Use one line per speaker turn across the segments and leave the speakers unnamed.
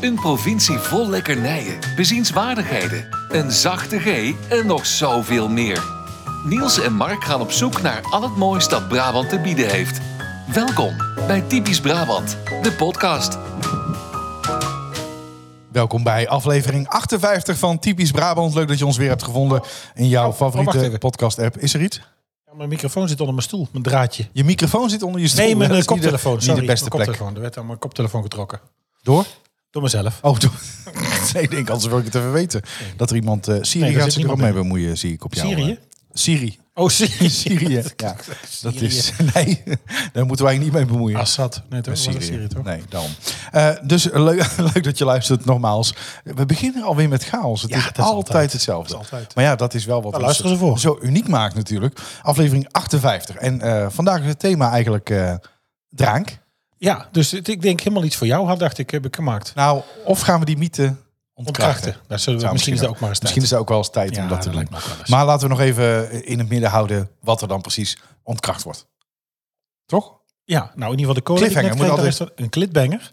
Een provincie vol lekkernijen, bezienswaardigheden, een zachte G en nog zoveel meer. Niels en Mark gaan op zoek naar al het moois dat Brabant te bieden heeft. Welkom bij Typisch Brabant, de podcast.
Welkom bij aflevering 58 van Typisch Brabant. Leuk dat je ons weer hebt gevonden in jouw
Oh, wacht
favoriete
even.
podcast-app. Is er iets?
Ja, mijn microfoon zit onder mijn stoel, mijn draadje.
Je microfoon zit onder je stoel.
Nee, mijn
Dat
eh,
is niet de-
koptelefoon.
Niet de,
Sorry,
beste
mijn
plek.
koptelefoon. Er werd aan mijn koptelefoon getrokken.
Door?
Door mezelf.
Oh, door. nee, ik denk, anders wil ik het even weten. Dat er iemand... eh Syrië
Nee, daar
gaat
zit
zich er ook
niemand
mee
in.
bemoeien, zie ik op jou.
Syrië?
eh, Syrië.
Oh, Syrië.
Syrië, ja. Dat is... Nee, daar moeten wij niet mee
Ah,
bemoeien.
Assad. Nee, toch? Was dat Syrië, toch?
Nee, daarom. Eh, dus leuk, leuk dat je luistert nogmaals. We beginnen alweer met chaos. Het
Ja,
is
dat is
altijd,
altijd.
hetzelfde.
Dat is altijd.
Maar ja, dat is wel wat
Daar
ons
luisteren ze voor.
zo uniek maakt natuurlijk. Aflevering 58. En eh, vandaag is het thema eigenlijk eh, drank.
Ja, dus het- ik denk helemaal iets voor jou had, dacht ik, heb ik gemaakt.
Nou, of gaan we die mythe ontkrachten?
Ontkrachten. Daar zullen we,
Zou
misschien is dat
ook-
ook maar eens
Misschien
tijd.
is dat ook wel eens tijd
Ja,
om dat te
dat
doen.
lijkt me ook wel eens.
Maar laten we nog even eh, in het midden houden wat er dan precies ontkracht wordt. Toch?
Ja, nou in ieder geval de koning.
Cliffhanger, moet altijd-
Een klitbanger.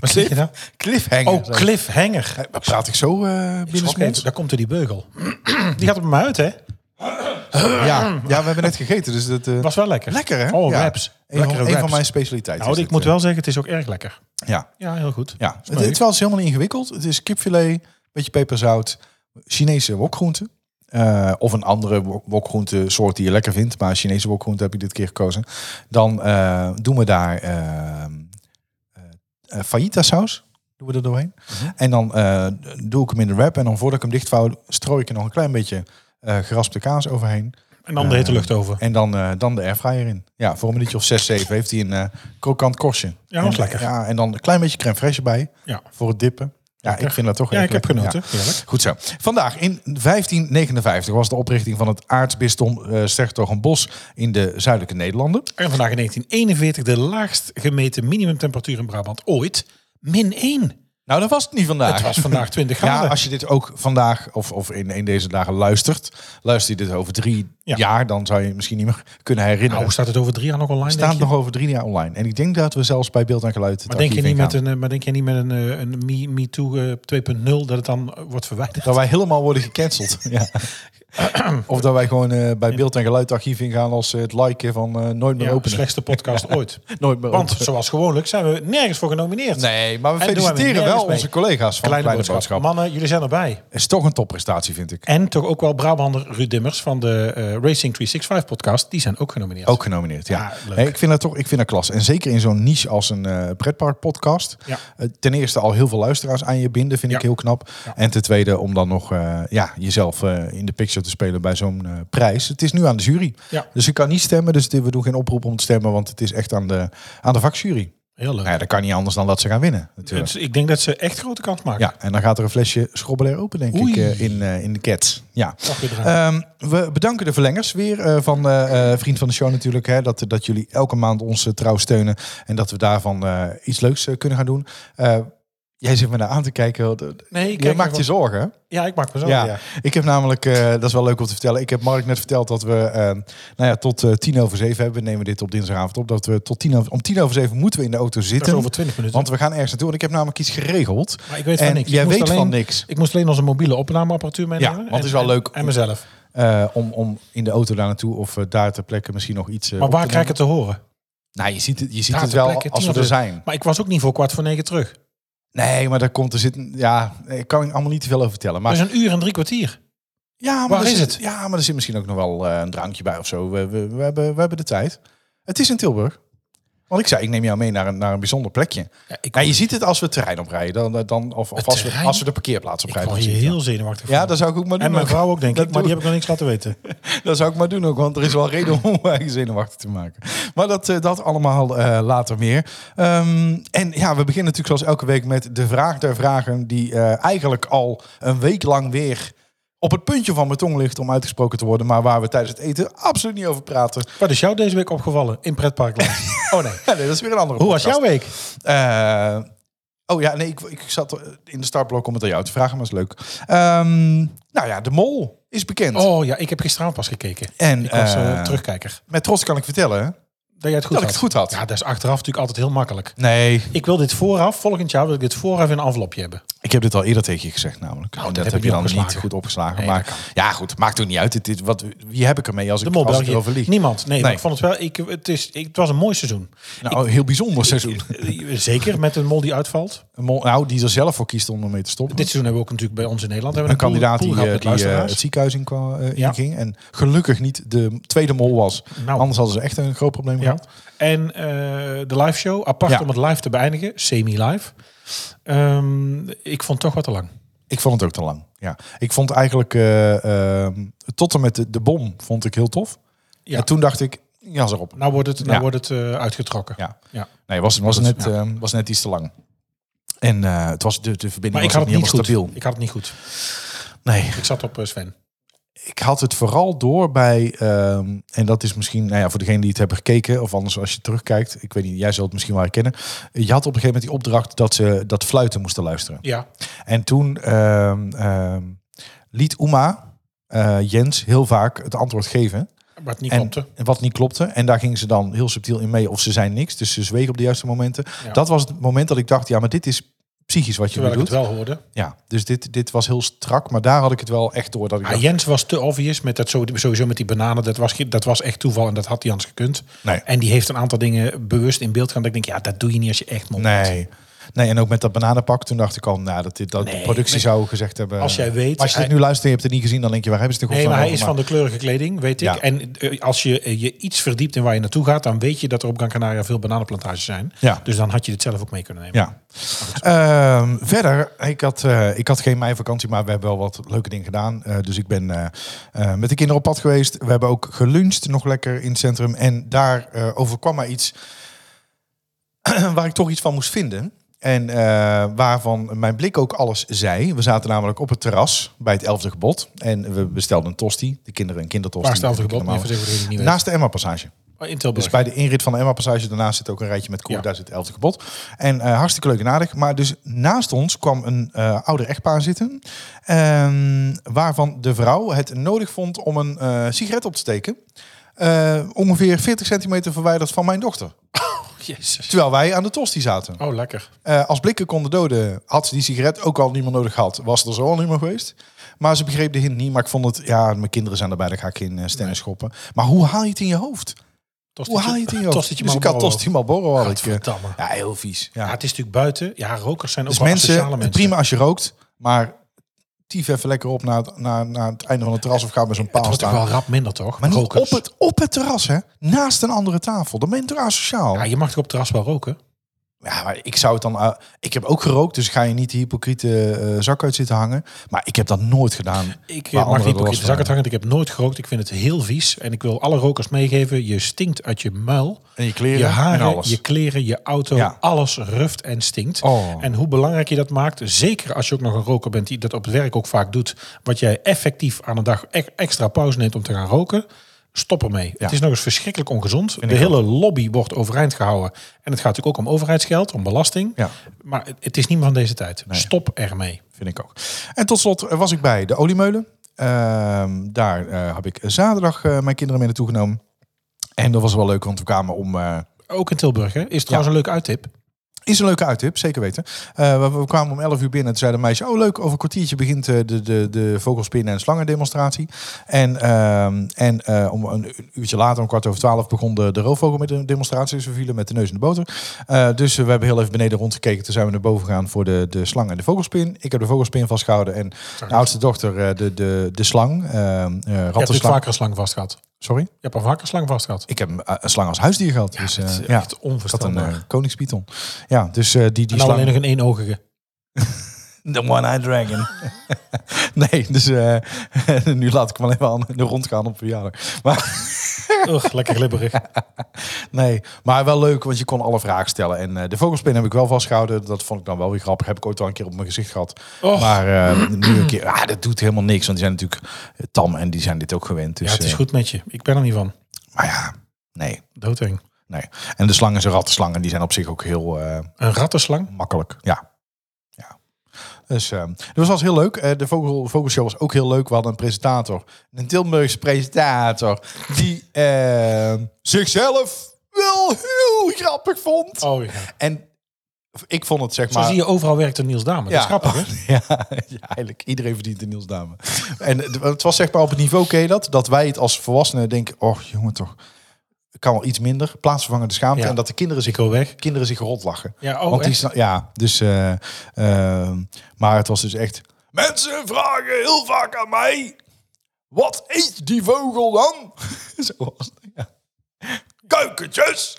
Wat zeg je nou?
Cliffhanger.
Oh, cliffhanger.
Eh, Praat ik zo eh
Ik
binnen
schrok even. Daar komt er die beugel. Die gaat op me uit, hè?
Ja, ja, we hebben net gegeten, dus dat... eh,
Was wel lekker.
Lekker, hè?
Oh,
Ja.
wraps.
Een van,
Lekkere
een van
wraps.
mijn specialiteiten.
Nou,
is
ik
dit,
moet wel zeggen, het is ook erg lekker.
eh, Ja,
Ja, heel goed.
ja. Het,
leuk.
het was helemaal niet ingewikkeld. Het is kipfilet, beetje peperzout, Chinese wokgroente. eh, of een andere wok- wokgroente soort die je lekker vindt. Maar Chinese wokgroente heb je dit keer gekozen. Dan eh, doen we daar eh, eh, eh, fajita saus. Doen we er doorheen.
Mhm.
En dan eh, doe ik hem in de wrap. En dan voordat ik hem dichtvouw, strooi ik er nog een klein beetje eh, geraspte kaas overheen.
En dan de hete lucht over.
En dan, eh, dan de airfryer in. Ja, voor een minuutje of zes, zeven heeft hij een eh, krokant korstje.
Ja, dat is
En,
lekker.
Ja, en dan een klein beetje crème fraîche bij
Ja.
voor het dippen. Ja, ik vind dat toch
Ja,
erg
ik heb
lekker.
genoten.
Ja.
Heerlijk.
Goed zo. Vandaag in 1559 was de oprichting van het aartsbisdom eh Sertogenbosch in de zuidelijke Nederlanden.
En vandaag in 1941 de laagst gemeten minimumtemperatuur in Brabant ooit. Min 1.
Nou, dat was het niet vandaag.
Het was vandaag 20
Ja,
graden.
als je dit ook vandaag of, of in, in deze dagen luistert, luister je dit over drie
Ja.
jaar, dan zou je je misschien niet meer kunnen herinneren.
Nou, staat het over drie jaar nog online?
staat
denk je?
nog over drie jaar online. En ik denk dat we zelfs bij beeld en geluid. het
Maar denk, je
archief
niet
ingaan.
met een, eh, maar denk je niet met een, eh, een Me- MeToo eh, 2.0 dat het dan eh, wordt verwijderd?
Dat wij helemaal worden gecanceld. ja. Of dat wij gewoon eh, bij beeld en geluid archief ingaan als eh, het liken van eh, nooit meer
Ja,
openen.
slechtste podcast ooit.
Nooit meer
Want
openen.
zoals gewoonlijk zijn we nergens voor genomineerd.
Nee, maar we
En doen we
feliciteren
nergens
wel
mee.
onze collega's van Kleine, Boodschap.
Mannen, jullie zijn erbij.
Is toch een topprestatie, vind ik.
En toch ook wel Brabander Ruud Dimmers van de eh, Racing 365 podcast. Die zijn ook genomineerd.
Ook genomineerd, ja.
Ja, Ah, leuk.
Nee, ik vind dat toch, ik vind dat klas. En zeker in zo'n niche als een eh pretpark podcast. Eh,
Ja.
ten eerste al heel veel luisteraars aan je binden, vind
Ja.
ik heel knap.
Ja.
En ten tweede om dan nog eh, ja, jezelf eh, in de picture te spelen bij zo'n eh, prijs. Het is nu aan de jury.
Ja.
Dus je kan niet stemmen. Dus dit- we doen geen oproep om te stemmen, want het is echt aan de, aan de vakjury.
Heel leuk.
Nou ja, dat kan niet anders dan dat ze gaan winnen. Natuurlijk.
Dus ik denk dat ze echt grote kans maken.
Ja, en dan gaat er een flesje schrobbelair open, denk
Oei.
ik, eh, in, eh, in de cats. Ja.
Mag weer eraan.
Ehm, we bedanken de verlengers weer eh, van eh, eh, Vriend van de Show natuurlijk. Hè, dat, dat jullie elke maand ons eh, trouw steunen. En dat we daarvan eh, iets leuks eh, kunnen gaan doen. Eh, jij zit me naar aan te kijken. Wat- eh,
Nee,
Je maakt je zorgen. hè?
Ja, ik maak me zo.
ja.
Oh, Ja.
ik heb namelijk, eh, dat is wel leuk om te vertellen. Ik heb Mark net verteld dat we eh, nou ja, tot eh, tien over zeven hebben. We nemen dit op dinsdagavond op. Dat we tot tien over, om tien over zeven moeten we in de auto
Dat is
zitten.
over 20 minuten.
Want we gaan ergens naartoe. En ik heb namelijk iets geregeld.
maar ik weet
en
van niks.
jij
ik moest
weet
alleen,
van niks.
Ik moest alleen onze mobiele opnameapparatuur meenemen.
want
En-
het is wel
en-
leuk.
En mezelf.
eh, om, om in de auto daar naartoe of eh, daar ter plekke misschien nog iets. eh,
Maar
op
waar
te
krijg ik het te horen?
doen. Nou, je ziet het, je ziet
Daar
het
ter
wel
plekke,
als we
tien
er
of-
zijn.
Maar ik was ook niet voor kwart voor negen terug.
Nee, maar daar komt er zit. Ja, ik kan ik allemaal niet te veel over vertellen. Maar,
Dus een uur en drie kwartier.
ja, maar
waar
er
is
zit,
het?
Ja, maar er zit misschien ook nog wel eh, een drankje bij of zo. We, we, we, hebben, we hebben de tijd. Het is in Tilburg. Want ik zei, ik neem jou mee naar een, naar een bijzonder plekje.
Ja, ik
Ja, je ziet het als we het terrein oprijden. Dan, dan, of of
Het
als, we,
terrein?
als we de parkeerplaats
ik
oprijden.
word hier
dan zie je het
heel zenuwachtig
wel. ja,
van.
dat zou ik ook maar doen.
En mijn
ook.
vrouw ook, denk
Dat
ik. Maar
doe
die heb ik nog niks laten weten.
Dat zou ik maar doen ook, want er is wel reden om mijn eigen zenuwachtig te maken. Maar dat, eh, dat allemaal eh, later meer. Ehm, en ja, we beginnen natuurlijk zoals elke week met de vraag der vragen... die eh, eigenlijk al een week lang weer op het puntje van mijn tong ligt om uitgesproken te worden... maar waar we tijdens het eten absoluut niet over praten.
Wat is jou deze week opgevallen in pretparkland? oh nee.
Ja, nee, dat is weer een andere
Hoe was
podcast.
jouw week?
Eh, oh ja, nee, ik, ik zat in de startblok om het aan jou te vragen, maar is leuk. Ehm, nou ja, de mol is bekend.
Oh ja, ik heb gisteravond pas gekeken.
en
Ik was eh,
eh,
terugkijker.
met trots kan ik vertellen...
jij het
Dat
goed
ik
had.
het goed had.
Ja, dat is achteraf natuurlijk altijd heel makkelijk.
Nee,
Ik wil dit vooraf, volgend jaar wil ik dit vooraf in een envelopje hebben.
ik heb dit al eerder tegen je gezegd namelijk.
Nou,
En
dat
dat
heb
heb
ik
je dan
niet
niet
opgeslagen.
goed opgeslagen.
Nee, dat
maar ja, goed, maakt ook niet uit. Dit, dit, wat, wie heb ik ermee als ik,
De
als ik
Mol
erover
België.
lieg?
Niemand. Nee, maar
Nee.
ik vond het wel. Ik, het, is, ik, het was een mooi seizoen.
Nou, heel bijzonder seizoen.
Eh, Zeker met een mol die uitvalt.
Een mol- Nou, die er zelf voor kiest om ermee te stoppen.
Dit seizoen hebben we ook natuurlijk bij ons in Nederland hebben
een
we pool-
kandidaat die,
pool gehad
eh,
met
die eh,
luisteraars.
het ziekenhuis in kwam, eh,
Ja.
inging. En gelukkig niet de tweede mol was.
Nou.
Anders hadden ze echt een groot probleem
Ja.
gehad.
En eh, de live show, apart
Ja.
om het live te beëindigen, semi-live. Ehm, ik vond het toch wat te lang.
Ik vond het ook te lang. Ja. Ik vond eigenlijk eh, ehm, tot en met de, de bom vond ik heel tof.
Ja.
En toen dacht ik, ja, ze erop.
Nou wordt het, nou
Ja.
wordt het eh, uitgetrokken.
Ja.
Ja.
Nee, was, was,
Dat is-
net, ehm, was net iets te lang. En eh, het was de, de verbinding
Maar ik
was
had het
ook
niet goed.
helemaal stabiel.
Ik had het niet goed.
Nee,
Ik zat op eh, Sven.
ik had het vooral door bij, ehm, en dat is misschien, nou ja, voor degenen die het hebben gekeken, of anders als je terugkijkt, ik weet niet, jij zult het misschien wel herkennen. Je had op een gegeven moment die opdracht dat ze dat fluiten moesten luisteren.
Ja.
En toen ehm, ehm, liet Uma eh, Jens heel vaak het antwoord geven.
Maar het niet eh,
En-
klopte.
En wat niet klopte. En daar gingen ze dan heel subtiel in mee. Of ze zijn niks. Dus ze zwegen op de juiste momenten.
Ja.
Dat was het moment dat ik dacht, ja, maar dit is psychisch wat je nu
Terwijl ik
doet.
het wel hoorde.
Ja, dus dit, dit was heel strak. Maar daar had ik het wel echt door. Dat ik
Ah,
dacht,
Jens was te obvious met dat zo- sowieso met die bananen. Dat was, ge- dat was echt toeval en dat had hij anders gekund.
Nee.
En die heeft een aantal dingen bewust in beeld gaan. Dat ik denk, ja, dat doe je niet als je echt mond
nee. nee, en ook met dat bananenpak. Toen dacht ik al, nou, dat, dit, dat de
Nee,
productie
nee.
zou gezegd hebben.
Als jij weet-
Als je dit
hij-
nu luistert en je hebt het niet gezien, dan denk je, waar hebben ze het in
Nee, maar hij is
godsnaam
van
over
de kleurige kleding, weet ik.
Ja.
En eh, als je eh, je iets verdiept in waar je naartoe gaat, dan weet je dat er op Gran Canaria veel bananenplantages zijn.
Ja.
Dus dan had je dit zelf ook mee kunnen nemen.
Ja. Ehm, verder, ik had, eh, ik had geen meivakantie, maar we hebben wel wat leuke dingen gedaan. Eh, dus ik ben eh, eh, met de kinderen op pad geweest. We hebben ook geluncht nog lekker in het centrum. En daar eh, overkwam mij iets waar ik toch iets van moest vinden. En eh, waarvan mijn blik ook alles zei. We zaten namelijk op het terras bij het 11e gebod. En we bestelden een tosti. De kinderen een kindertosti.
Waar stelt het
En
gebod? Nee, voor
normale-
de mensen die Oh, het niet
Naast de Emma-passage.
weten. In Tilburg.
Dus bij de inrit van de Emma Passage, daarnaast zit ook een rijtje met koer,
Ja.
daar zit 11 gebod. En eh, hartstikke leuk en aardig. Maar dus naast ons kwam een eh, ouder echtpaar zitten, ehm, waarvan de vrouw het nodig vond om een eh, sigaret op te steken. Eh, ongeveer 40 centimeter verwijderd van mijn dochter.
Jezus.
Terwijl wij aan de tosti zaten.
Oh, lekker.
Eh, als blikken konden doden, had ze die sigaret ook al niemand nodig gehad. Was er zo al niemand geweest. Maar ze begreep de hint niet. Maar ik vond het, ja, mijn kinderen zijn erbij, daar ga ik geen eh, stennis schoppen. Maar hoe haal je het in je hoofd?
Tostietje-
Hoe haal je het in je hoofd?
Tostietje
Dus ik had
Marlboro.
Tosti Marlboro had ik. eh.
Gadverdamme.
Ja, heel vies. Ja.
Ja, het is natuurlijk buiten. Ja, rokers zijn ook
dus
wel
mensen,
asociale mensen.
prima als je rookt, maar tief even lekker op naar het, naar, naar het einde van het terras of ga bij zo'n
Het
paal
wordt toch wel
staan.
rap minder, toch?
Maar niet
rokers.
op het, op het terras, hè? Naast een andere tafel. Dan ben je toch asociaal?
Ja, je mag toch op het terras wel roken?
Ja, maar ik zou het dan. eh, ik heb ook gerookt, dus ga je niet de hypocriete eh, zak uit zitten hangen. Maar ik heb dat nooit gedaan.
Ik eh,
Waar
mag
anderen
niet
er
op
last
de
van
zak hangen. Ik heb nooit gerookt. Ik vind het heel vies. En ik wil alle rokers meegeven. Je stinkt uit je muil.
En je kleren
Je
en
haren,
alles.
je kleren, je auto,
Ja.
alles ruft en stinkt.
Oh.
En hoe belangrijk je dat maakt, zeker als je ook nog een roker bent die dat op het werk ook vaak doet, wat jij effectief aan een dag e- extra pauze neemt om te gaan roken, stop ermee. Het is nog eens verschrikkelijk ongezond. de
ik
hele lobby wordt overeind gehouden. En het gaat natuurlijk ook om overheidsgeld, om belasting.
Ja.
Maar het- het is niet meer van deze tijd. Stop ermee.
Vind ik ook. En tot slot eh, was ik bij de oliemeulen. Ehm, daar eh, heb ik zaterdag eh, mijn kinderen mee naartoe genomen. En dat was wel leuk, want we kwamen om. eh,
Ook in Tilburg, hè? Is trouwens een leuk uittip.
is een leuke uittip, zeker weten. Eh, we, we kwamen om 11 uur binnen. Toen zei de meisje: Oh, leuk, over een kwartiertje begint eh, de, de, de vogelspinnen- en slangendemonstratie. En, ehm, en eh, om een u- uurtje later, om kwart over twaalf, begon de, de roofvogel met de demonstratie. Dus we vielen met de neus in de boter. Eh, dus eh, we hebben heel even beneden rondgekeken. Toen zijn we naar boven gegaan voor de, de slang en de vogelspin. Ik heb de vogelspin vastgehouden en de oudste dochter eh, de, de, de slang. ehm, eh
Je hebt natuurlijk
rattenslang.
vaker een slang vast gehad.
Sorry?
Je hebt al vaker een slang vast gehad.
Ik heb een, een slang als huisdier gehad. dus,
dat
eh, ja.
is
Ik had
echt
een
onvoorstelbaar.
eh, koningspython. Ja, dus eh, die, die
en dan
slang...
nou alleen nog een eenogige.
The One-Eyed Dragon. nee, dus eh, nu laat ik hem alleen maar aan de rond gaan op verjaardag. Maar
Ugh, lekker glibberig.
nee, maar wel leuk, want je kon alle vragen stellen. En eh, de vogelspin heb ik wel vastgehouden. Dat vond ik dan wel weer grappig. Heb ik ooit al een keer op mijn gezicht gehad.
Och.
Maar eh, nu een keer, ah, dat doet helemaal niks. Want die zijn natuurlijk eh, tam en die zijn dit ook gewend. Dus,
ja, het is
eh,
goed met je. Ik ben er niet van.
Maar ja, nee,
Doodeng.
nee. En de slang is een rattenslang en die zijn op zich ook heel... eh,
Een rattenslang?
makkelijk. Ja. ja. Dus ehm dat was heel leuk. Eh, de vogel, vogelshow was ook heel leuk. We hadden een presentator. Een Tilburgse presentator. Die ehm, zichzelf wel heel grappig vond.
Oh, ja.
En ik vond het zeg
Zo
maar...
zie je, overal werkt een Niels Dame. Dat is grappig, hè?
ja, ja, eigenlijk. Iedereen verdient een Niels Dame. en het- het was zeg maar op het niveau, ken je dat? Dat wij het als volwassenen denken, oh jongen toch, kan wel iets minder. Plaatsvervangende schaamte.
Ja.
En dat de kinderen zich,
Ik wil weg.
kinderen zich rot lachen.
Ja, oh,
Want die
echt?
sna- ja, dus... eh, ehm, maar het was dus echt... Mensen vragen heel vaak aan mij... Wat eet die vogel dan? Zo was het, ja. Kuikentjes!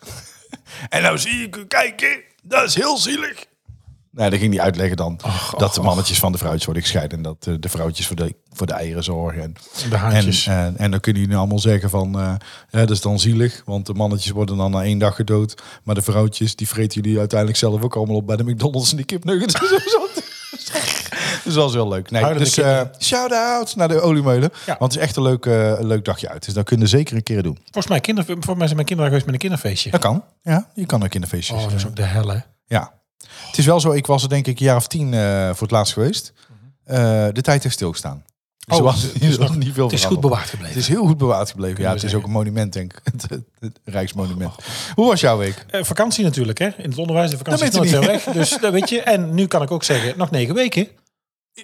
en nou zie ik u kijken. Dat is heel zielig. Nou, dat ging die uitleggen dan. dat de mannetjes van de vrouwtjes worden gescheiden. En dat eh, de vrouwtjes voor de, voor de eieren zorgen. En,
De haantjes.
En, eh, en, en dan kunnen jullie allemaal zeggen van... eh, ja, dat is dan zielig. Want de mannetjes worden dan na één dag gedood. Maar de vrouwtjes, die vreten jullie uiteindelijk zelf ook allemaal op... bij de McDonald's en die kipnuggets. en zo. Dus dat was wel leuk. Nee,
Huilende
dus eh
kinderen.
shout-out naar de oliemeulen.
Ja.
Want het is echt een leuk, eh, een leuk dagje uit. Dus dat kunnen we zeker een keer doen.
Volgens mij, kinder, volgens mij zijn mijn kinderen geweest met een kinderfeestje.
Dat kan. Ja, je kan ook in de feestjes.
Oh, dat is ook de hel, hè?
Ja. Het is wel zo, ik was er denk ik een jaar of tien eh, voor het laatst geweest. Eh, de tijd heeft stilgestaan. Dus er
Oh,
was, er is nog niet veel
Het is
veranderd.
goed bewaard
Het
gebleven.
is heel goed bewaard gebleven. Ja,
we
het is
zeggen.
ook een monument, denk ik. Het, het- het Rijksmonument. Hoe was jouw week?
Eh, vakantie natuurlijk, hè? In het onderwijs de vakantie is
Dat
nooit
weet
zo
je
weg. Dus dat weet je. En nu kan ik ook zeggen, nog negen weken.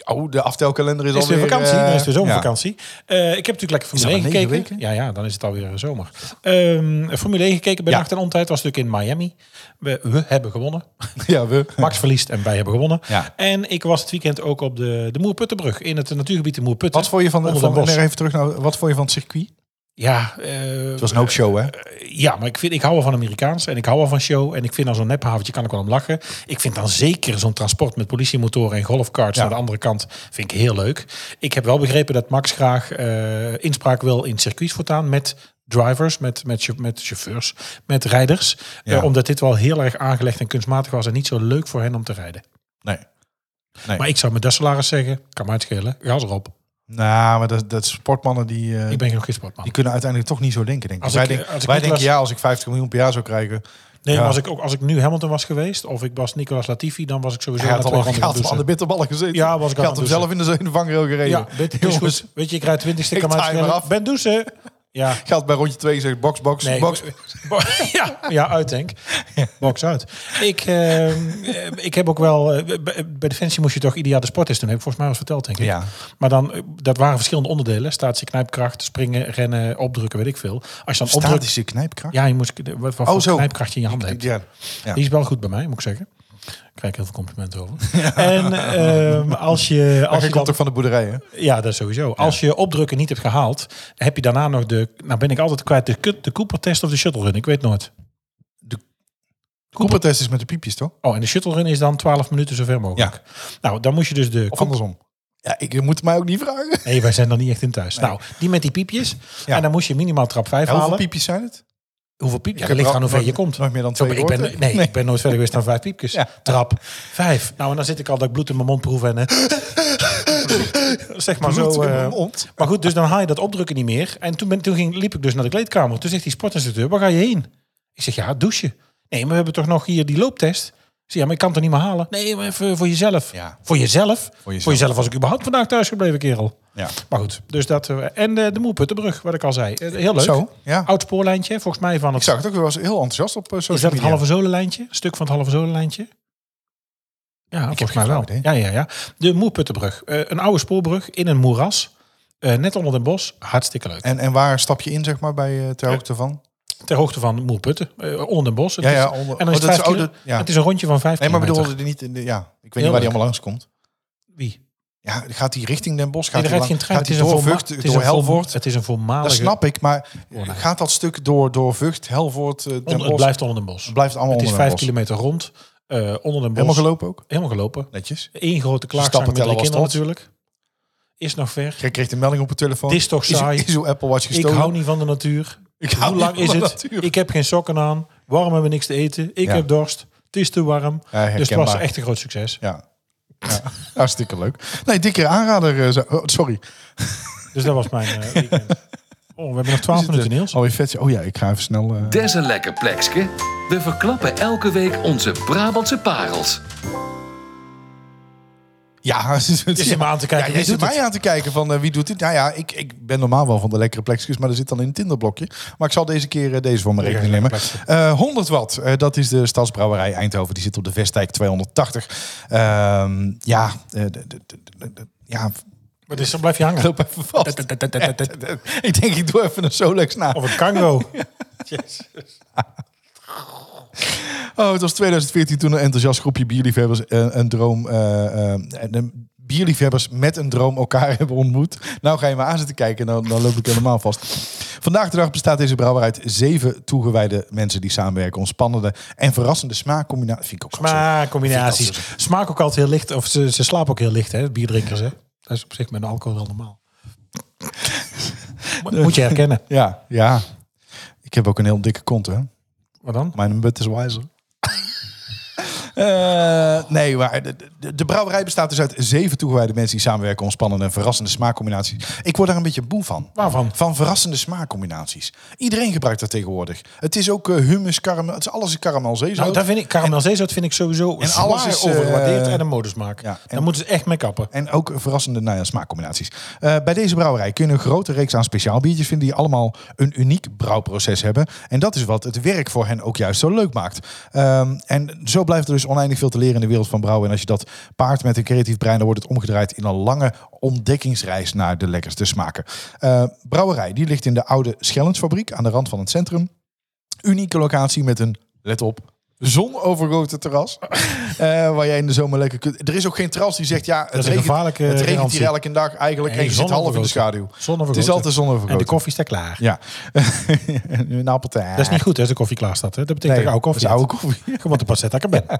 Oh, de aftelkalender is,
is
alweer...
weer vakantie,
eh,
dan is de
ja.
zomervakantie. Eh, ik heb natuurlijk lekker Formule
dat maar
1
negen
gekeken. Ja, ja, dan is het alweer eh, zomer. Ehm, Formule 1 gekeken bij
Ja.
Nacht en Ontijd. was natuurlijk in Miami. We, we hebben gewonnen.
Ja, we...
Max verliest en wij hebben gewonnen.
Ja.
En ik was het weekend ook op de, de Moerputtenbrug. In het natuurgebied de Moerputten.
Wat vond je van,
Onder
van
Den Bosch.
nee, even terug naar wat vond je van het circuit?
Ja, eh,
Het was een hoop show, hè?
ja, maar ik, vind, ik hou wel van Amerikaans en ik hou wel van show. En ik vind dan zo'n nephaventje, kan ik wel om lachen. Ik vind dan zeker zo'n transport met politiemotoren en golfkarts
Ja.
naar de andere kant, vind ik heel leuk. Ik heb wel begrepen dat Max graag eh, inspraak wil in circuits voortaan met drivers, met, met, cha- met chauffeurs, met rijders.
Ja.
Eh, omdat dit wel heel erg aangelegd en kunstmatig was en niet zo leuk voor hen om te rijden.
Nee. Nee.
Maar ik zou met dat salaris zeggen, kan me uitschelen, gas erop.
Nou, maar dat, dat sportmannen die... eh,
Ik ben nog geen sportman.
Die kunnen uiteindelijk toch niet zo denken, denk ik.
Als
wij
ik,
denk-
eh, als ik
wij
Nicolas-
denken, ja, als ik 50 miljoen per jaar zou krijgen...
Nee,
Ja.
maar als ik, ook, als ik nu Hamilton was geweest, of ik was Nicolas Latifi, dan was ik sowieso
Hij had
naar
al
twee
hij had
ronden
al aan dus, de bitterballen gezeten.
Ja, was ik
Hij
al
had hem
aan het
zelf in de zee- in de vangrail gereden.
Ja, dit is
Jongens,
goed. Weet je, ik rijd 20ste
Ik
km
taai maar
uit.
af.
Ben douchen. Ja.
Gaat bij rondje 2 zegt box, box,
Nee,
box.
bo- ja, ja, uit denk. Box uit. Ik, ehm, eh, ik heb ook wel... eh, bij- bij Defensie moest je toch ieder jaar de sporttest doen. Heb ik volgens mij al eens verteld, denk ik.
Ja.
Maar dan, eh, dat waren verschillende onderdelen. Statische knijpkracht, springen, rennen, opdrukken, weet ik veel. Als je dan opdrukt...
Statische knijpkracht.
Ja, je moest... Wat, wat voor
Oh, zo.
knijpkracht je in je handen hebt.
Ja. Ja.
Die is wel goed bij mij, moet ik zeggen. Daar krijg ik heel veel complimenten over. En ehm, als je... Als
Hij komt
je dan,
toch van de boerderij, hè?
ja, dat sowieso. Als je opdrukken niet hebt gehaald, heb je daarna nog de... Nou ben ik altijd kwijt, de, Ku- de Cooper-test of de shuttle run. Ik weet nooit.
Koepertest is met de piepjes, toch?
Oh, en de shuttle run is dan 12 minuten zover mogelijk. Nou, dan moet je dus de...
Of
Cooper-
andersom? Ja, ik je moet het mij ook niet vragen.
Nee, wij zijn er niet echt in thuis. Nou, die met die piepjes.
Ja.
En dan moest je minimaal trap 5
Ja,
halen.
hoeveel piepjes zijn het?
Hoeveel piep? Ja,
Ik heb
dat ligt
er
aan hoe
al-
ver je
nooit-
komt.
nooit meer dan
Zo,
twee
ik ben,
woorden.
nee, ik ben nooit verder geweest dan vijf piepjes.
Ja.
Trap, vijf. Nou, en dan zit ik al dat ik bloed in mijn mond proef en... eh, zeg maar
Bloed
zo...
in mijn
eh,
mond.
Maar goed, dus dan haal je dat opdrukken niet meer. En toen, ben, toen ging, liep ik dus naar de kleedkamer. Toen zegt die sportinstructeur, waar ga je heen? Ik zeg, ja, douchen. Nee, maar we hebben toch nog hier die looptest? Ik zeg, ja, maar ik kan het er niet meer halen. Nee, maar even voor jezelf.
Ja.
Voor jezelf? Voor
jezelf.
was ik überhaupt vandaag thuis gebleven, kerel.
Ja.
Maar goed, dus dat... eh, En de, de Moerputtenbrug, wat ik al zei. Eh, Heel leuk.
Zo, ja.
Oud spoorlijntje, volgens mij van het...
Ik zag het ook, hij was heel enthousiast op eh,
Is dat
social
het
media.
halve zolenlijntje? Een stuk van het halve zolenlijntje? Ja, volgens mij
geen
wel.
flauw
Ja, ja, ja. De Moerputtenbrug. Eh, een oude spoorbrug in een moeras. Eh, net onder Den bos. Hartstikke leuk.
En, en waar stap je in, zeg maar, bij, eh, ter hoogte van?
Ter hoogte van Moerputten. eh, onder Den bos.
Ja, ja, onder-
en dan
oh,
is het,
dat is-
5
oh,
kilo-
dat- ja.
het is een rondje van 5
Nee, maar
kilometer.
bedoelde niet in de... Ja, ik weet
Heel
niet waar
leuk.
die allemaal langskomt.
Wie?
Ja, gaat hij richting Den Bosch?
Nee,
Gaat
er
hij
rijdt geen
lang- Gaat hij
trein. het is een
door
voorma-
Vught,
het is
door
een voorma-
Helvoort?
Het is een voormalige...
Dat snap ik, maar
Worden.
gaat dat stuk door, door Vught, Helvoort, eh, Den
onder-
Bosch?
het blijft onder Den bos.
Het blijft allemaal
Het is
onder Den
5
Bosch.
kilometer rond. eh, onder Den bos.
Helemaal gelopen ook?
Helemaal gelopen.
Netjes.
Eén grote klaagzang
Stappen
met de
tellen
kinderen
was
natuurlijk. Is nog ver.
Ik kreeg een melding op mijn telefoon.
Dit is toch saai?
Is, uw Apple Watch
Ik
gestolen?
hou niet van de natuur.
Ik hou
Hoe lang
niet
is
van de
het?
natuur.
Ik heb geen sokken aan. Warm hebben we niks te eten. Ik
Ja.
heb dorst. Het is te warm.
Ja, herkenbaar.
dus het was echt een groot succes.
Ja. ja. Hartstikke leuk. Nee, dikkere aanrader. eh, zo- oh, sorry.
Dus dat was mijn eh, weekend. Oh, we hebben nog 12
Is het,
minuten,
eh,
Niels.
Alweer vet. Oh ja, ik ga even snel... eh,
Des een lekker plekske. We verklappen elke week onze Brabantse parels.
Ja, het is,
is hem aan te kijken,
Ja,
wie
je zit
doet
mij aan te kijken van eh, wie doet dit. Nou ja, ik, ik ben normaal wel van de lekkere plekjes, maar er zit dan in een tinderblokje. Maar ik zal deze keer eh, deze voor mijn
Lekker,
rekening nemen.
lekker plekje.
Eh, 100 watt, eh, dat is de Stadsbrouwerij Eindhoven. Die zit op de Vestdijk 280. Ehm, ja, eh, d- d- d- d- d- ja,
Maar dus dan blijf je hangen.
loop even vast. Ik denk, ik doe even een Solex na.
Of een kango. Jezus.
Oh, het was 2014 toen een enthousiast groepje bierliefhebbers eh, een droom. eh, eh, de bierliefhebbers met een droom elkaar hebben ontmoet. Nou ga je maar aan zitten kijken, dan, dan loop ik helemaal vast. Vandaag de dag bestaat deze brouwer uit zeven toegewijde mensen die samenwerken om spannende en verrassende smaakcombinaties. Vind ik ook zo.
Maar
Vind ik
combinaties. Smaak ook altijd heel licht. Of ze, ze slapen ook heel licht, hè, bierdrinkers. Hè. Dat is op zich met alcohol wel normaal. Mo- Moet je herkennen.
Ja, ja. Ik heb ook een heel dikke kont, hè?
Wat dan?
Mijn bed is wijzer. Eh, nee, maar de, de, de brouwerij bestaat dus uit zeven toegewijde mensen die samenwerken om spannende en verrassende smaakcombinaties. Ik word daar een beetje boe van.
Waarvan?
Van verrassende smaakcombinaties. Iedereen gebruikt dat tegenwoordig. Het is ook eh, hummus, karamel, het is alles een karamelzeezout.
Nou, daar vind ik, karamel zeezout vind ik sowieso en alles is
eh,
overgewaardeerd en een modesmaak.
ja, en-
Daar moeten ze echt mee kappen.
En ook verrassende nou ja, smaakcombinaties. Eh, bij deze brouwerij kun je een grote reeks aan speciaal biertjes vinden die allemaal een uniek brouwproces hebben. En dat is wat het werk voor hen ook juist zo leuk maakt. Ehm, en zo blijft er dus oneindig veel te leren in de wereld van brouwen. En als je dat paart met een creatief brein, dan wordt het omgedraaid in een lange ontdekkingsreis naar de lekkerste smaken. Eh, brouwerij, die ligt in de oude Schellensfabriek aan de rand van het centrum. Unieke locatie met een, let op, zonovergoten terras. Eh, waar jij in de zomer lekker kunt... Er is ook geen terras die zegt, ja,
is
het,
een
regent,
gevaarlijke
het regent
garantie.
hier elke dag eigenlijk.
Nee,
en je zit half in de
zonovergoten.
schaduw. Het
Zonnevergoten.
is altijd
En de
zonovergoten.
koffie staat klaar.
Ja. En een appeltaart.
Dat is niet goed hè, als de koffie klaar staat. Hè. Dat betekent dat je oude koffie
dat is
hebt. Gewoon de passet dat ik er ben.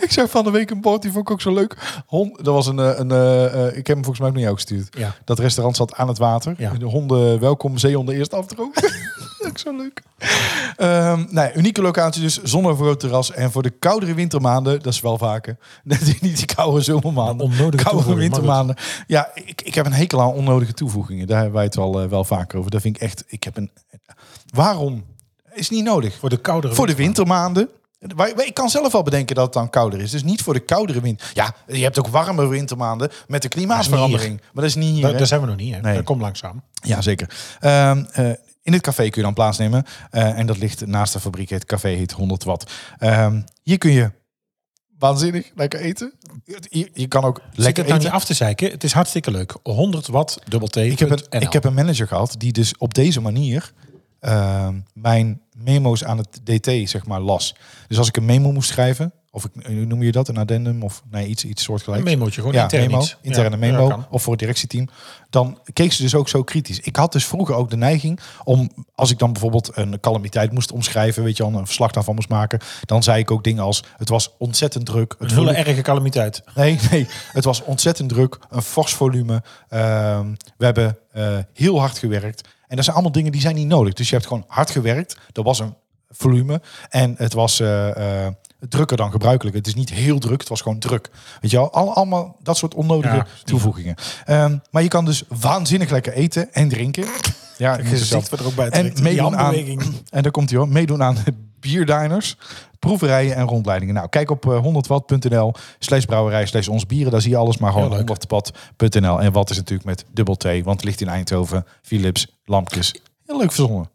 Ik zag van de week een bord, die vond ik ook zo leuk. Hon, dat was een, eh, een eh, eh, ik heb hem volgens mij ook naar jou gestuurd.
Ja.
Dat restaurant zat aan het water.
Ja.
De honden welkom, zeehonden eerst afdrogen. ook zo leuk. Ehm nee, unieke locatie dus, zonnevergroot terras. En voor de koudere wintermaanden, dat is wel vaker. Niet die koude zomermaanden.
Onnodige
koude
toevoeging,
wintermaanden. Ja, ik, ik heb een hekel aan onnodige toevoegingen. Daar hebben wij het wel, eh, wel vaker over. Dat vind ik echt, ik heb een... Waarom? Is niet nodig.
Voor de koudere
Voor de wintermaanden. Waar- waar- Ik kan zelf al bedenken dat het dan kouder is. Dus niet voor de koudere winter. Ja, je hebt ook warme wintermaanden met de klimaatverandering. maar dat is niet hier.
Daar,
hè?
daar zijn we nog niet. Hè.
Nee.
Dat komt langzaam.
Ja, zeker. Ehm, eh, in het café kun je dan plaatsnemen. Eh, en dat ligt naast de fabriek. Het café heet 100 Watt. Ehm, hier kun je waanzinnig lekker eten. Je, je kan ook
Zit
lekker
het
eten.
nou niet af te zeiken. Het is hartstikke leuk. 100 watt, dubbel T.
Ik heb, een, ik heb een manager gehad die dus op deze manier ehm, mijn memo's aan het DT zeg maar las. Dus als ik een memo moest schrijven, of ik, hoe noem je dat, een addendum of nee, iets, iets
een
soortgelijks.
memootje, gewoon
ja,
intern
memo,
iets.
interne
Ja,
memo,
ja, kan.
of voor het directieteam. Dan keek ze dus ook zo kritisch. Ik had dus vroeger ook de neiging om, als ik dan bijvoorbeeld een calamiteit moest omschrijven, weet je wel, een verslag daarvan moest maken, dan zei ik ook dingen als, het was ontzettend druk, het
Een hele
voelde
erge calamiteit.
Nee, nee. Het was ontzettend druk. Een fors volume. Ehm, we hebben eh, heel hard gewerkt. En dat zijn allemaal dingen die zijn niet nodig. Dus je hebt gewoon hard gewerkt. Er was een volume. En het was eh, eh, drukker dan gebruikelijk. Het is niet heel druk. Het was gewoon druk. Weet je wel? Al, allemaal dat soort onnodige
Ja.
toevoegingen. Ehm, maar je kan dus waanzinnig lekker eten en drinken. Ja, ik moet het zelf-
wat er ook bij
en meedoen aan, en daar komt hij hoor, meedoen aan bierdiners, proeverijen en rondleidingen. Nou, kijk op eh, 100watt.nl slash brouwerij slash ons bieren. Daar zie je alles, maar
Heel
gewoon
leuk.
100watt.nl. En wat is natuurlijk met dubbel T, want het ligt in Eindhoven, Philips, lampjes. Heel leuk verzonnen.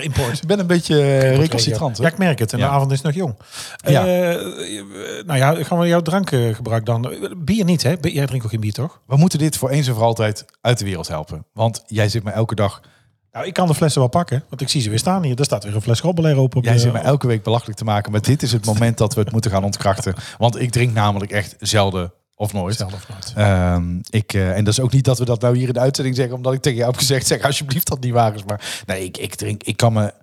Import.
Dus Ik ben een beetje eh, recalcitrant. hè?
Ja, ik merk het. En de
Ja.
avond is nog jong.
Ja.
Eh, eh, nou ja, gaan we jouw drankgebruik dan... Bier niet, hè? Jij drinkt ook geen bier, toch?
We moeten dit voor eens en voor altijd uit de wereld helpen. Want jij zit me elke dag,
Nou, ik kan de flessen wel pakken. Want ik zie ze weer staan hier. Daar staat weer een fles Robbeler open. op
jij
de-
zit me elke week belachelijk te maken. Maar dit is het moment dat we het moeten gaan ontkrachten. Want ik drink namelijk echt zelden of nooit.
Zelf of nooit.
Ehm, ik, eh, en dat is ook niet dat we dat nou hier in de uitzending zeggen, omdat ik tegen jou heb gezegd, zeg alsjeblieft dat het niet waar is. Maar nee, ik, ik drink, ik kan me,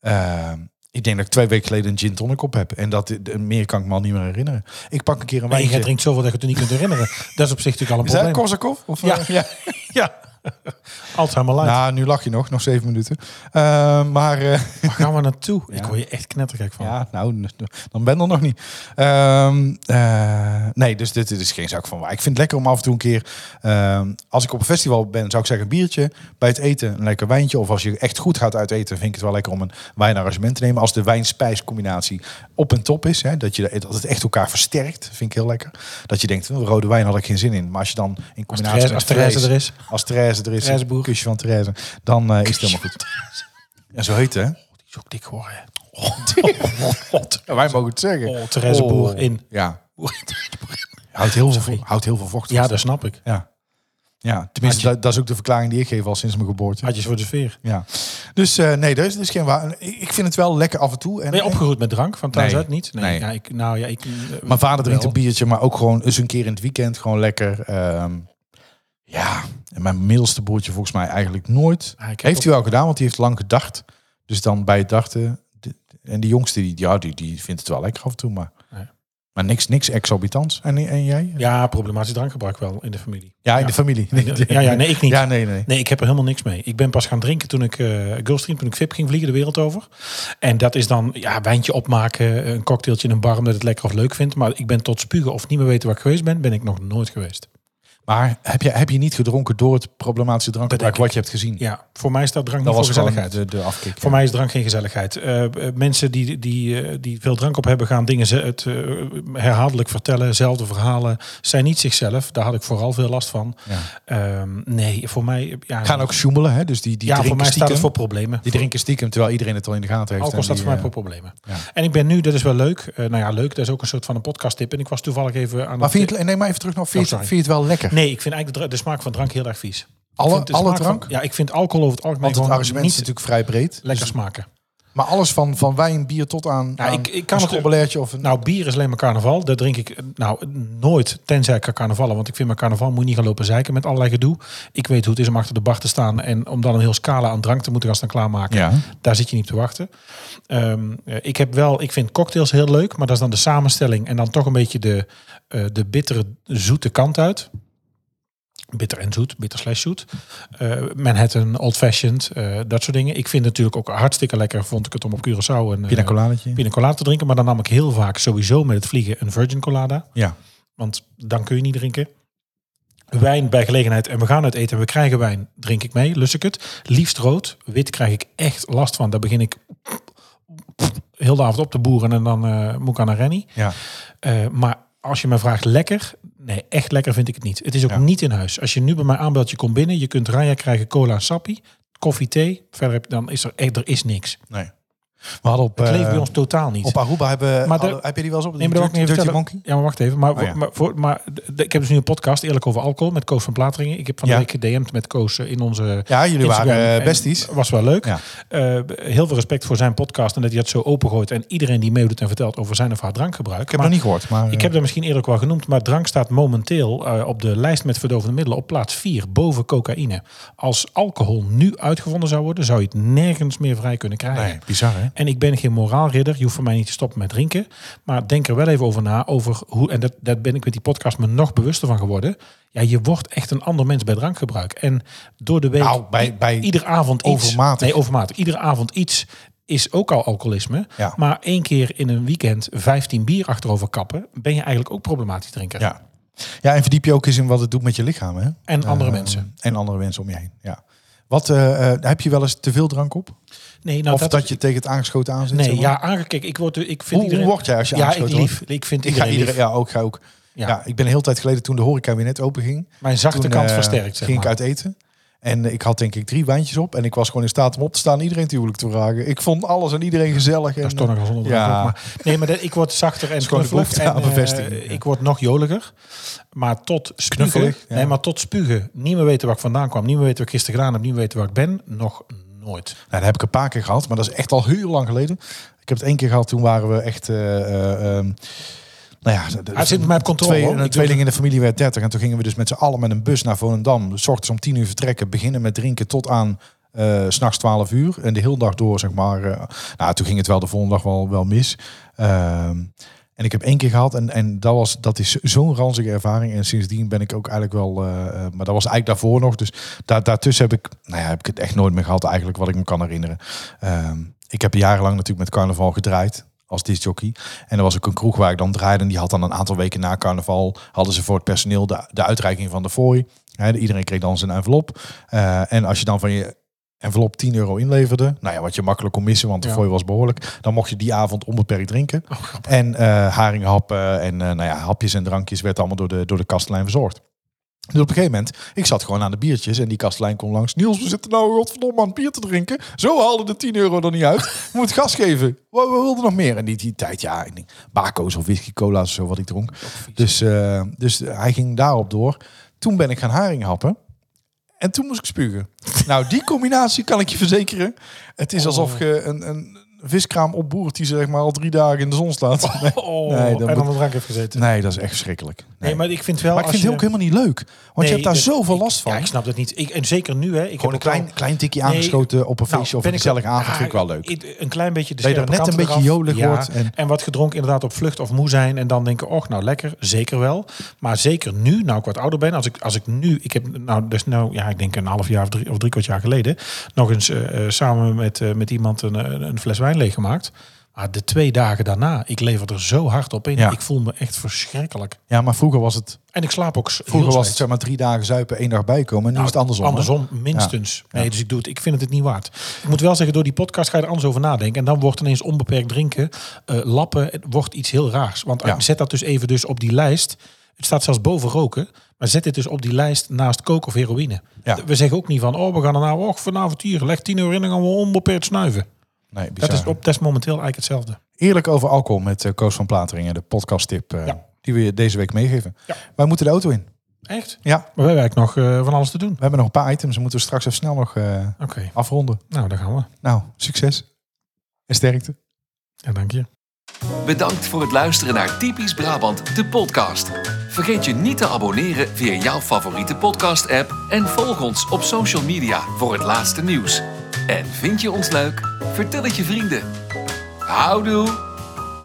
ehm, ik denk dat ik twee weken geleden een gin tonic op heb. En dat eh, meer kan ik me al niet meer herinneren. Ik pak een keer een
Nee,
wijntje.
jij drinkt zoveel dat je het niet kunt herinneren. Dat is op zich natuurlijk al een
is dat
probleem.
Korsakov? Of, eh,
Ja. Ja. Alzheimer light.
Nou, nu lach je nog, nog zeven minuten. Eh, maar eh,
Waar gaan we naartoe? Ik word je echt knettergek van.
ja, nou, n- n- dan ben er nog niet. Ehm, eh, nee, dus dit, dit is geen zak van waar. Ik vind het lekker om af en toe een keer, ehm, als ik op een festival ben, zou ik zeggen een biertje. Bij het eten een lekker wijntje. Of als je echt goed gaat uit eten, vind ik het wel lekker om een wijnarrangement te nemen. Als de wijn-spijs-combinatie op en top is. Hè, dat, je, dat het echt elkaar versterkt, vind ik heel lekker. Dat je denkt, oh, rode wijn had ik geen zin in. Maar als je dan in
Als
combinatie
Therese- als
met
Therese
vlees-
er is.
Als Therese er is,
Therese Boer.
een kusje van Therese. Dan eh, is het helemaal goed. En zo heet het, hè?
Die is ook dik geworden. hè. Oh, God.
Ja, wij mogen het zeggen.
Oh, Therese Boer in.
Ja. Houdt heel, veel, houdt heel veel vocht.
Ja,
vast.
dat snap ik.
ja. ja, tenminste, dat, dat is ook de verklaring die ik geef al sinds mijn geboorte.
Had je voor de veer.
Ja. Dus eh, nee, dat is, dat is geen waar. Ik ik vind het wel lekker af en toe. En,
Ben je opgegroeid met drank? Van thuis
Nee.
uit niet?
Nee.
Ja, ik, nou ja, ik... eh,
Mijn vader drinkt
wel.
een biertje, maar ook gewoon eens een keer in het weekend gewoon lekker. ehm, ja, en mijn middelste broertje volgens mij eigenlijk nooit.
Ah, ik heb
Heeft hij wel gedaan, want die heeft lang gedacht. Dus dan bij het dachten. de- en die jongste, die, ja, die, die vindt het wel lekker af en toe, maar,
Ja.
maar niks, niks exorbitants. En, en jij?
Ja, problematisch drankgebruik wel in de familie.
Ja, in de familie.
Ja, ja, nee, ik niet.
Ja, nee, nee.
Nee, ik heb er helemaal niks mee. Ik ben pas gaan drinken toen ik eh Gulfstream, toen ik VIP ging vliegen de wereld over. En dat is dan ja, wijntje opmaken, een cocktailtje in een bar omdat het lekker of leuk vindt. Maar ik ben tot spugen of niet meer weten waar ik geweest ben, ben ik nog nooit geweest.
Maar heb je, heb je niet gedronken door het problematische drankgebruik
Dat
wat
denk
je hebt gezien?
Ja, voor mij staat drank
dat
niet voor
was gewoon
gezelligheid.
de, de afkick.
Voor
ja.
mij is drank geen gezelligheid. Eh, eh, mensen die, die, eh, die veel drank op hebben gaan dingen ze het, eh, herhaaldelijk vertellen, zelfde verhalen, zijn niet zichzelf. Daar had ik vooral veel last van.
Ja.
Ehm, nee, voor mij... Ja,
Gaan ook sjoemelen, hè? Dus die, die
ja,
drinken
voor mij staat
stiekem.
het voor problemen.
Die drinken stiekem, terwijl iedereen het al in de gaten heeft.
Alcohol
en
staat
die,
voor mij
eh,
voor problemen.
ja.
En ik ben nu, dat is wel leuk. eh, nou ja, leuk, dat is ook een soort van een podcasttip. En ik was toevallig even aan
Maar
het...
vind je het, nee, maar even terug naar, vind, je
Oh,
het-
sorry.
vind je het wel lekker?
Nee, ik vind eigenlijk de, dra- de smaak van drank heel erg vies. Ik
Alle-
vind de
alle
smaak van-
drank?
ja, ik vind alcohol over het algemeen
Want het
gewoon
arrangement
niet
is natuurlijk vrij breed.
lekker smaken.
Maar alles van, van wijn, bier tot aan,
Ja,
aan
ik- ik kan
een
het-
schrobbelairtje of een...
Nou, bier is alleen maar carnaval. Dat drink ik eh, nou nooit, tenzij ik ga carnavallen. Want ik vind mijn carnaval moet je niet gaan lopen zeiken met allerlei gedoe. Ik weet hoe het is om achter de bar te staan en om dan een heel scala aan drank te moeten gaan staan klaarmaken.
ja.
Daar zit je niet op te wachten. Ehm, eh, ik heb wel, ik vind cocktails heel leuk, maar dat is dan de samenstelling en dan toch een beetje de, eh, de bittere, zoete kant uit. Bitter en zoet, bitter slash zoet. Eh, Manhattan, Old Fashioned, eh, dat soort dingen. Ik vind natuurlijk ook hartstikke lekker, vond ik het om op Curaçao een eh,
Pina coladetje.
pina colada te drinken. Maar dan nam ik heel vaak sowieso met het vliegen een virgin colada.
Ja.
Want dan kun je niet drinken. Wijn bij gelegenheid en we gaan uit eten en we krijgen wijn, drink ik mee, lus ik het. Liefst rood, wit krijg ik echt last van. Daar begin ik heel de avond op te boeren en dan eh, moet ik aan een rennie.
ja.
Eh, maar als je me vraagt lekker, nee, echt lekker vind ik het niet. Het is ook
Ja.
niet in huis. Als je nu bij mij aanbelt, je komt binnen, je kunt raya krijgen, cola, sappie, koffie, thee. Verder heb, dan is er echt er is niks.
Nee. We hadden op,
Het leeft
eh,
bij ons totaal niet.
op Aruba, hebben,
Maar de-
hadden- heb je die wel eens op?
Nee, maar dat
Dirty,
mag ik niet
Dirty
vertellen.
Monkey?
Ja, maar wacht even. Maar,
Oh, ja.
maar, voor, maar d- ik heb dus nu een podcast, eerlijk over alcohol, met Koos van Plateringen. Ik heb van de
Ja.
week gedm'd met Koos eh, in onze
Ja, jullie
Instagram.
waren
En
eh, besties.
Was wel leuk.
Ja.
Eh, heel veel respect voor zijn podcast en dat hij dat zo opengooit. En iedereen die meedoet en vertelt over zijn of haar drankgebruik.
Ik heb het nog niet gehoord, maar... eh,
Ik heb dat misschien eerder ook wel genoemd, maar drank staat momenteel eh, op de lijst met verdovende middelen op plaats 4, boven cocaïne. Als alcohol nu uitgevonden zou worden, zou je het nergens meer vrij kunnen krijgen.
eh, Nee, bizar, hè?
En ik ben geen moraalridder. Je hoeft voor mij niet te stoppen met drinken. Maar denk er wel even over na. Over hoe, en dat, dat ben ik met die podcast me nog bewuster van geworden. Ja, je wordt echt een ander mens bij drankgebruik. En door de week,
Nou, bij- bij
iedere avond iets.
overmatig.
Nee, overmatig. Iedere avond iets is ook al alcoholisme.
Ja.
Maar één keer in een weekend 15 bier achterover kappen... ben je eigenlijk ook problematisch drinker.
Ja. ja, en verdiep je ook eens in wat het doet met je lichaam. Hè?
En andere
Eh,
mensen.
En andere mensen om je heen. Ja. Wat, eh, eh, heb je wel eens te veel drank op?
Nee, nou,
of dat, je tegen het aangeschoten aan zit?
Nee,
zeg maar?
ja, aangekeken. Ik, word, ik vind
Hoe- hoe
iedereen...
word jij als je
Ja, ik
aangeschoten
lief. Ik vind
Ik ga
iedereen,
iedereen,
lief.
ja, ook, ga ook.
Ja.
Ja. ik ben een heel tijd geleden toen de horeca weer net open ging.
Mijn zachte
toen,
kant
eh,
versterkt, zeg
ging
maar.
ik uit eten. En eh, ik had denk ik drie wijntjes op. En ik was gewoon in staat om op te staan en iedereen te huwelijk te vragen. Ik vond alles en iedereen gezellig. en, eh,
Dat is toch nog wel zonder drank
Ja.
ook, Maar, nee, maar dat- ik word zachter en
is gewoon de
knuffelig. En,
behoefte aan
eh,
bevestiging, ja.
Ik word nog joliger. Maar tot spugen,
Knuffelig, ja.
nee, maar tot spugen, niet meer weten waar ik vandaan kwam, niet meer weten wat ik gisteren gedaan heb, niet meer weten waar ik ben, nog nooit.
Nou, dat heb ik een paar keer gehad, maar dat is echt al heel lang geleden. Ik heb het één keer gehad, toen waren we echt... eh, eh, ehm, nou ja, de- de-
Hij zit bij mij op controle.
twee,
hoor.
een
Ik
tweeling in de familie werd 30. En toen gingen we dus met z'n allen met een bus naar Volendam. Dus S ochtends om 10 uur vertrekken, beginnen met drinken tot aan eh, s s'nachts 12 uur. En de hele dag door, zeg maar. eh, nou, toen ging het wel de volgende dag wel, wel mis. Ehm, En ik heb één keer gehad en, en dat, was, dat is zo'n ranzige ervaring. En sindsdien ben ik ook eigenlijk wel... eh, eh, maar dat was eigenlijk daarvoor nog. Dus daar, daartussen heb ik, nou ja, heb ik het echt nooit meer gehad eigenlijk, wat ik me kan herinneren. Ehm, ik heb jarenlang natuurlijk met carnaval gedraaid als discjockey. En er was ook een kroeg waar ik dan draaide. En die had dan een aantal weken na carnaval... hadden ze voor het personeel de, de uitreiking van de fooi. Hè, iedereen kreeg dan zijn envelop. Eh, en als je dan van je envelop 10 euro inleverde... nou ja, wat je makkelijk kon missen, want de
Ja.
fooi was behoorlijk... dan mocht je die avond onbeperkt drinken. en eh haringhappen en eh, nou ja, hapjes en drankjes... werd allemaal door de, door de kastlijn verzorgd. Dus op een gegeven moment, ik zat gewoon aan de biertjes en die kastlijn kon langs. Niels, we zitten nou godverdomme aan het bier te drinken. Zo haalde de 10 euro er niet uit. We moeten gas geven. We, we wilden nog meer. En die, die tijd, ja, ik denk, bako's of whisky cola's of zo wat ik dronk. Dus, eh, dus hij ging daarop door. Toen ben ik gaan haringhappen. En toen moest ik spugen. Nou, die combinatie kan ik je verzekeren. Het is alsof je een, een viskraam opboert die zeg maar al drie dagen in de zon staat. Nee,
Oh,
Nee, dan moet-
en dan de drank heeft gezeten. Nee,
nee dat is echt verschrikkelijk. Nee. maar,
maar ik vind wel...
ik vind het ook helemaal niet leuk. Want je hebt daar zoveel last van.
Ja, ik snap dat niet. Ik, en zeker nu, hè. Ik
Gewoon een
heb ook wel-
klein, klein tikje
Nee,
aangeschoten op een
Nou,
feestje of
ben
een
ik-
gezellige avond
Ah,
vind ik wel leuk.
ik- een klein beetje de
Dat je er
scherpe
net een
kanten
beetje
eraf.
jolig
Ja,
wordt en-
En... wat gedronken inderdaad op vlucht of moe zijn. En dan denken, och nou lekker, zeker wel. Maar zeker nu, nou ik wat ouder ben. Als ik, als ik nu, ik heb nou, dus nou ja, ik denk een half jaar of drie, of drie kwart jaar geleden. Nog eens eh, eh, samen met, eh, met iemand een, eh, een fles wijn leeggemaakt. Maar de twee dagen daarna, ik lever er zo hard op in.
Ja.
Ik voel me echt verschrikkelijk.
Ja, maar vroeger was het,
En ik slaap ook s- heel
vroeger was
slecht.
het zeg maar drie dagen zuipen, één dag bijkomen. En nu is het Nou, andersom. hè?
Andersom, minstens. Nee, dus ik doe het. Ik vind het het niet waard. Ik moet wel zeggen, door die podcast ga je er anders over nadenken. En dan wordt ineens onbeperkt drinken, eh, lappen, het wordt iets heel raars. Want
Ja.
zet dat dus even dus op die lijst. Het staat zelfs boven roken. Maar zet dit dus op die lijst naast kook of heroïne.
Ja.
We zeggen ook niet van, oh, we gaan er nou, och, vanavond hier, leg 10 euro in en gaan we onbeperkt snuiven.
Nee, bizar.
Dat is, op, dat is momenteel eigenlijk hetzelfde.
Eerlijk over alcohol met eh, Koos van Plateringen, de podcast tip eh,
Ja.
die we je deze week meegeven.
Ja.
Wij moeten de auto in.
Echt?
Ja,
Maar we hebben eigenlijk nog eh, van alles te doen.
we hebben nog een paar items. Dan moeten we straks even snel nog eh,
Oké,
afronden.
nou, daar gaan we.
Nou, succes en sterkte.
Ja, dank je.
Bedankt voor het luisteren naar Typisch Brabant, de podcast. Vergeet je niet te abonneren via jouw favoriete podcast-app en volg ons op social media voor het laatste nieuws. En vind je ons leuk? Vertel het je vrienden. Houdoe!